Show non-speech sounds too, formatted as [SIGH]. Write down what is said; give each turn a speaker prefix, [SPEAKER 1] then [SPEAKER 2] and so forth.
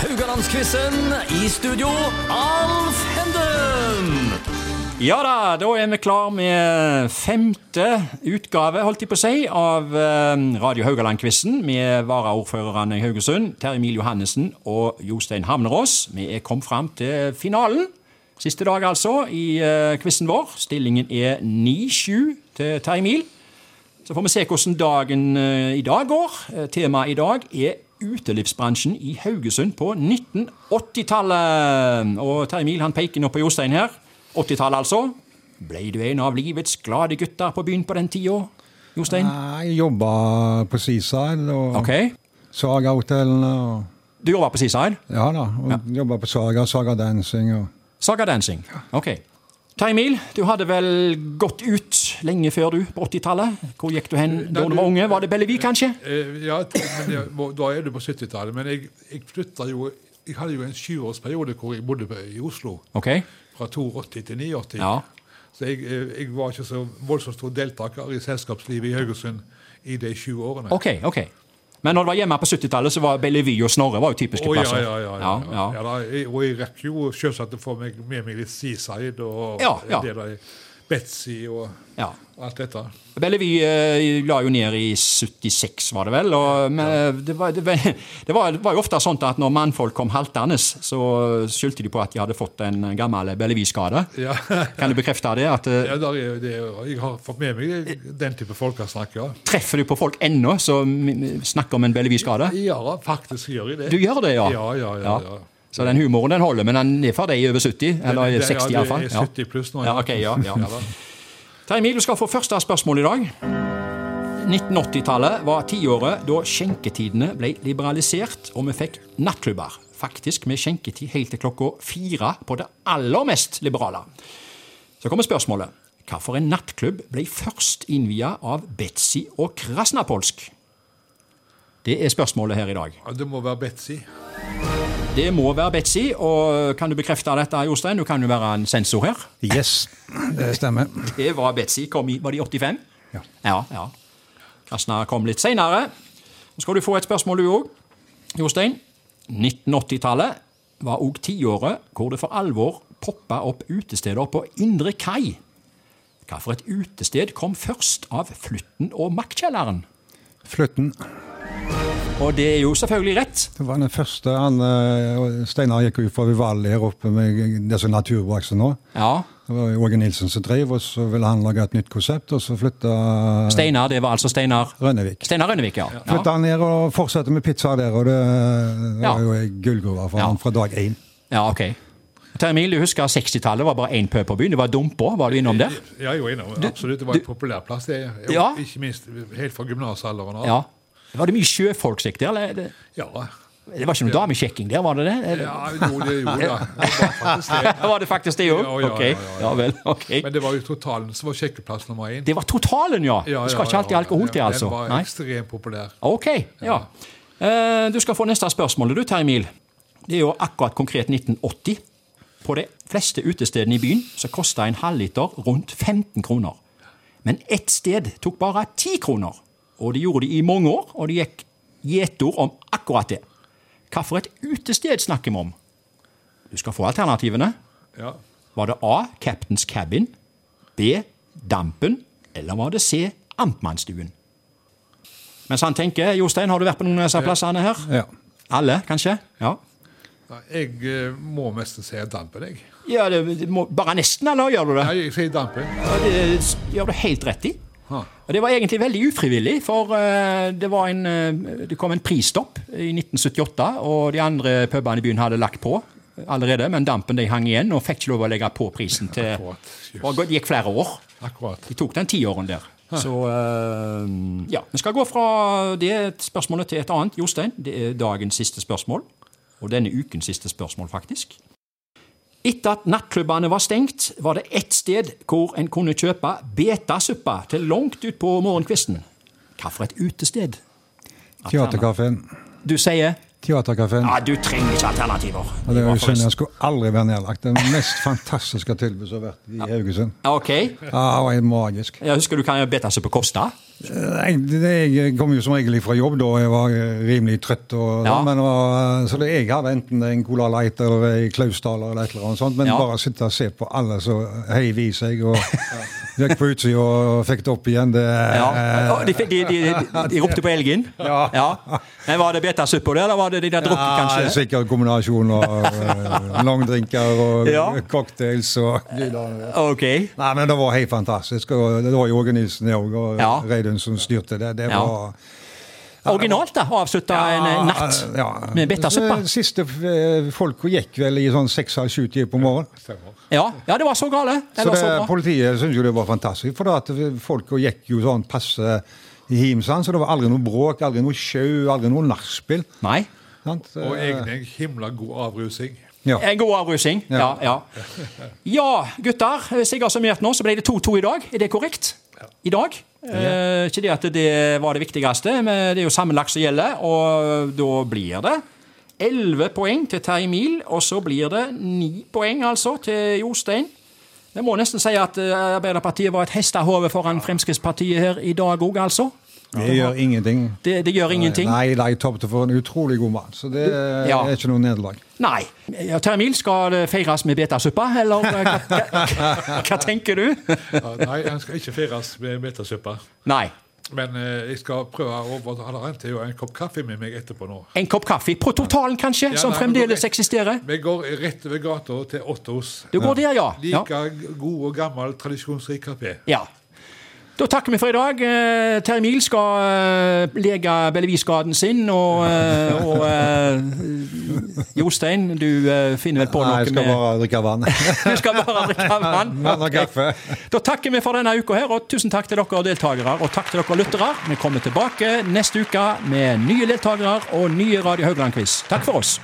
[SPEAKER 1] Haugalandsquizen. I studio, Alf Henden.
[SPEAKER 2] Ja da, da er vi klar med femte utgave, holdt jeg på å si, av eh, Radio Haugaland-quizen med varaordførerne i Haugesund, Terje Emil Johannessen og Jostein Hamnerås. Vi er kommet fram til finalen. Siste dag, altså, i eh, quizen vår. Stillingen er 9-7 til Terje Emil. Så får vi se hvordan dagen eh, i dag går. Eh, Temaet i dag er utelivsbransjen i Haugesund på 1980-tallet. Og Terje Emil han peker nå på Jostein her. 80-tallet, altså. Ble du en av livets glade gutter på byen på den tida, Jostein?
[SPEAKER 3] Jeg jobba på Seaside og
[SPEAKER 2] Ok.
[SPEAKER 3] Saga-hotellene. og-
[SPEAKER 2] Du jobba på Seaside?
[SPEAKER 3] Ja da. og Jobba på Saga, Saga Dancing og
[SPEAKER 2] Saga Dancing. Ok. Terje Emil, du hadde vel gått ut lenge før du, på 80-tallet? Hvor gikk du hen da du var unge? Var det Bellevue, kanskje?
[SPEAKER 4] Eh, ja, men det, må- da er du på 70-tallet. Men jeg, jeg flytta jo Jeg hadde jo en syvårsperiode hvor jeg bodde på, i Oslo.
[SPEAKER 2] Ok.
[SPEAKER 4] Fra 82 til 89.
[SPEAKER 2] Ja.
[SPEAKER 4] Så jeg, eh, jeg var ikke så voldsomt stor deltaker i selskapslivet i Haugesund i de sju årene.
[SPEAKER 2] Ok, ok. Men når du var hjemme på 70-tallet, så var Bellevue og Snorre var jo typiske
[SPEAKER 4] Å, ja,
[SPEAKER 2] plasser.
[SPEAKER 4] ja, ja, ja, ja. ja da, jeg, og jeg rakk jo selvsagt å få meg, med meg litt Seaside og
[SPEAKER 2] Ja, ja.
[SPEAKER 4] en del av Betzy og
[SPEAKER 2] Ja.
[SPEAKER 4] alt dette.
[SPEAKER 2] Bellevue eh, la jo ned i 76, var det vel. Og, men, eh, det, var, det, var, [LAUGHS] det, var, det var jo ofte sånn at når mannfolk kom haltende, så skyldte de på at de hadde fått en gammel Bellevue-skade.
[SPEAKER 4] Ja. [LAUGHS]
[SPEAKER 2] Kan du bekrefte det? At, eh,
[SPEAKER 4] Ja, der er, det, er- jeg har fått med meg det- den type folkesnakk, ja.
[SPEAKER 2] Treffer du på folk ennå som snakker om en Bellevue-skade?
[SPEAKER 4] Ja, faktisk gjør jeg det.
[SPEAKER 2] Du gjør det, ja?
[SPEAKER 4] Ja, ja, ja, ja.
[SPEAKER 2] Så den humoren den holder, men den er for deg over 70? Eller
[SPEAKER 4] Det- det-
[SPEAKER 2] 60
[SPEAKER 4] ja,
[SPEAKER 2] iallfall?
[SPEAKER 4] det er 70 pluss nå.
[SPEAKER 2] Ja, ok, ja, ja.
[SPEAKER 4] da.
[SPEAKER 2] Terje Emil, du skal få første spørsmål i dag. 1980-tallet var tiåret da skjenketidene ble liberalisert, og vi fikk nattklubber. Faktisk med skjenketid helt til klokka fire på det aller mest liberale. Så kommer spørsmålet. Hvilken nattklubb ble først innvia av Betzy og Krasnapolsk? Det er spørsmålet her i dag.
[SPEAKER 4] Ja, Det må være Betzy.
[SPEAKER 2] Det må være Betzy, og kan du bekrefte dette, Jostein? Du kan jo være en sensor her.
[SPEAKER 3] Yes, det stemmer.
[SPEAKER 2] Det var Betzy. Kom i, var det i 85?
[SPEAKER 3] Ja.
[SPEAKER 2] ja, ja. Krasna kom litt seinere. Nå skal du få et spørsmål, du òg. Jostein. 1980-tallet var òg tiåret hvor det for alvor poppa opp utesteder på Indre Kai. Hvilket utested kom først av Flytten og Maktkjelleren?
[SPEAKER 3] Flytten.
[SPEAKER 2] Og det er jo selvfølgelig rett.
[SPEAKER 3] Det var den første han eh, og Steinar gikk ut fra Vivaldi her oppe med det som er Naturbraksen nå.
[SPEAKER 2] Ja.
[SPEAKER 3] Det var Åge Nilsen som drev, og så ville han lage et nytt konsept, og så flytta
[SPEAKER 2] Steinar, det var altså Steinar
[SPEAKER 3] Rønnevik.
[SPEAKER 2] Steinar Rønnevik, ja.
[SPEAKER 3] Flytta
[SPEAKER 2] ja.
[SPEAKER 3] han ned og fortsatte med pizza der, og det, det
[SPEAKER 2] Ja.
[SPEAKER 3] var jo en gullgruve for
[SPEAKER 2] Ja.
[SPEAKER 3] han fra dag én.
[SPEAKER 2] ja ok. Terje Emil, du husker 60-tallet var bare én pø på byen. Det var Dumpa. Var du innom der?
[SPEAKER 4] Ja, jo, jeg er absolutt. Det var en populær plass. Det, er- jo,
[SPEAKER 2] Ja.
[SPEAKER 4] Ikke minst helt fra gymnasalderen av.
[SPEAKER 2] Ja. Var det mye sjøfolk sikkert der? Eller? Det-
[SPEAKER 4] Ja.
[SPEAKER 2] Det var ikke noe damesjekking der, var det det? Eller? [LAUGHS]
[SPEAKER 4] ja, jo, det gjorde det. det var faktisk det.
[SPEAKER 2] var det faktisk det òg?
[SPEAKER 4] Ja, ja, ja, ja, ja.
[SPEAKER 2] ja vel, ok.
[SPEAKER 4] Men det var jo totalen som var sjekkeplass nummer én.
[SPEAKER 2] Det var totalen, ja.
[SPEAKER 4] Ja,
[SPEAKER 2] Du
[SPEAKER 4] ja,
[SPEAKER 2] skal ikke alltid
[SPEAKER 4] ja,
[SPEAKER 2] alkohol til,
[SPEAKER 4] ja.
[SPEAKER 2] altså.
[SPEAKER 4] Den var
[SPEAKER 2] Nei.
[SPEAKER 4] ekstremt populær.
[SPEAKER 2] Ok, ja. Eh, Du skal få neste spørsmål, du, Terje Emil. Det er jo akkurat konkret 1980. På de fleste utestedene i byen så kosta en halvliter rundt 15 kroner. Men ett sted tok bare 10 kroner. Og det gjorde de i mange år, og det gikk gjetord om akkurat det. Hvilket utested snakker vi om? Du skal få alternativene.
[SPEAKER 4] Ja.
[SPEAKER 2] Var det A. Captain's Cabin, B. Dampen, eller var det C. Amtmannsstuen? Mens han tenker, Jostein, har du vært på noen av disse plassene her?
[SPEAKER 3] Ja.
[SPEAKER 2] Alle, kanskje? Ja.
[SPEAKER 4] Nei, Jeg eh, må mest si dampen, jeg.
[SPEAKER 2] Ja, det, det må, bare nesten, eller gjør du det?
[SPEAKER 4] Nei, jeg sier dampen.
[SPEAKER 2] Ja, det s- gjør du helt rett i.
[SPEAKER 4] Ha.
[SPEAKER 2] Og Det var egentlig veldig ufrivillig, for eh, det, var en, eh, det kom en prisstopp i 1978, og de andre pubene i byen hadde lagt på allerede, men dampen de hang igjen og fikk ikke lov å legge på prisen til
[SPEAKER 4] Akkurat, jøss.
[SPEAKER 2] Og Det gikk flere år.
[SPEAKER 4] Akkurat.
[SPEAKER 2] De tok den tiåren der. Så eh, ja. Vi skal gå fra det spørsmålet til et annet. Jostein, det er dagens siste spørsmål. Og denne ukens siste spørsmål, faktisk. Etter at nattklubbene var stengt, var det ett sted hvor en kunne kjøpe betasuppe til langt utpå morgenkvisten. Hvilket utested?
[SPEAKER 3] Teaterkafeen.
[SPEAKER 2] Du sier
[SPEAKER 3] Teaterkafeen.
[SPEAKER 2] Ja, du trenger ikke alternativer.
[SPEAKER 3] Og det er
[SPEAKER 2] var
[SPEAKER 3] jo synd,
[SPEAKER 2] forresten-
[SPEAKER 3] den skulle aldri være nedlagt. Det mest fantastiske tilbudet som har vært i Haugesund.
[SPEAKER 2] Ok.
[SPEAKER 3] Ja, det var helt magisk.
[SPEAKER 2] Jeg husker du hva betasuppe kosta?
[SPEAKER 3] Nei, det- Jeg kom jo som regel fra jobb da jeg var eh, rimelig trøtt. Og,
[SPEAKER 2] Ja.
[SPEAKER 3] men, det var- eh, så det, jeg hadde enten en Cola Light eller ei Klausdal eller et eller annet sånt, men
[SPEAKER 2] Ja.
[SPEAKER 3] bare sitte og se på alle som heiv i seg
[SPEAKER 2] [LAUGHS]
[SPEAKER 3] og gikk på utsida og fikk det opp igjen, det eh,
[SPEAKER 2] Ja. Å, De, de, de,
[SPEAKER 3] [LAUGHS]
[SPEAKER 2] de ropte på elgen?
[SPEAKER 3] Ja.
[SPEAKER 2] Men var det betasuppa der, eller var det de der drukket,
[SPEAKER 3] Ja,
[SPEAKER 2] kanskje?
[SPEAKER 3] sikkert kombinasjon av
[SPEAKER 2] [LAUGHS]
[SPEAKER 3] eh, langdrinker og
[SPEAKER 2] Ja. Eh,
[SPEAKER 3] cocktails og
[SPEAKER 2] Ok.
[SPEAKER 3] Nei, men det var helt fantastisk. Og det var Jorge Nilsen det òg, og
[SPEAKER 2] Ja.
[SPEAKER 3] Reidun som styrte det. Det
[SPEAKER 2] Ja.
[SPEAKER 3] var
[SPEAKER 2] Originalt, da. Å avslutte en eh, natt
[SPEAKER 3] ja.
[SPEAKER 2] med betasuppa.
[SPEAKER 3] Så Siste eh, folka gikk vel i sånn seks-sju-tida på morgenen.
[SPEAKER 2] Ja. ja, det var så gale. Det
[SPEAKER 3] Så
[SPEAKER 2] var
[SPEAKER 3] det,
[SPEAKER 2] så bra.
[SPEAKER 3] politiet syntes jo det var fantastisk, for da at folka gikk jo sånn passe i himsan, så det var aldri noe bråk, aldri noe sjau, aldri noe nachspiel.
[SPEAKER 2] Nei.
[SPEAKER 3] sant? Eh,
[SPEAKER 4] Og egentlig en himla god avrusing.
[SPEAKER 3] Ja.
[SPEAKER 2] En god avrusing. Ja, ja. ja gutter. Hvis jeg har summert nå, så ble det 2-2 i dag. Er det korrekt? I dag? Eh, ikke det at det var det viktigste, men det er jo sammenlagt som gjelder, og da blir det 11 poeng til Terje Mil, og så blir det 9 poeng altså til Jostein. Jeg må nesten si at eh, Arbeiderpartiet var et hestehove foran Fremskrittspartiet her i dag òg, altså.
[SPEAKER 3] Det gjør ingenting. Eh,
[SPEAKER 2] Det, det gjør ingenting.
[SPEAKER 3] Nei, de tapte for en utrolig god mann, så det eh,
[SPEAKER 2] Ja.
[SPEAKER 3] er ikke noe nederlag.
[SPEAKER 2] Nei. Ja, Termil, skal det feires med betasuppa, eller eh, hva, hva, hva tenker du?
[SPEAKER 4] Ja, nei, han skal ikke feires med metersuppa.
[SPEAKER 2] Nei.
[SPEAKER 4] Men eh, jeg skal prøve å overta Han henter jo en kopp kaffe med meg etterpå nå.
[SPEAKER 2] En kopp kaffe på totalen, kanskje,
[SPEAKER 4] Ja,
[SPEAKER 2] som
[SPEAKER 4] nei, men
[SPEAKER 2] fremdeles
[SPEAKER 4] ok.
[SPEAKER 2] eksisterer?
[SPEAKER 4] Vi går rett over gata til Ottos.
[SPEAKER 2] Du går der, ja. ja.
[SPEAKER 4] Like god og gammel, tradisjonsrik kafé.
[SPEAKER 2] ja. Da takker vi for i dag. Eh, Terje Mil skal eh, lege belleviskaden sin, og, eh, og eh, Jostein, du eh, finner vel på
[SPEAKER 3] Nei,
[SPEAKER 2] noe
[SPEAKER 3] jeg skal
[SPEAKER 2] med
[SPEAKER 3] bare drikke vann.
[SPEAKER 2] [LAUGHS] Du skal bare drikke vann.
[SPEAKER 3] [LAUGHS] Vann og kaffe.
[SPEAKER 2] Da takker vi for denne uka her, og tusen takk til dere deltakere, og takk til dere lyttere. Vi kommer tilbake neste uke med nye deltakere og nye Radio Haugland-quiz. Takk for oss.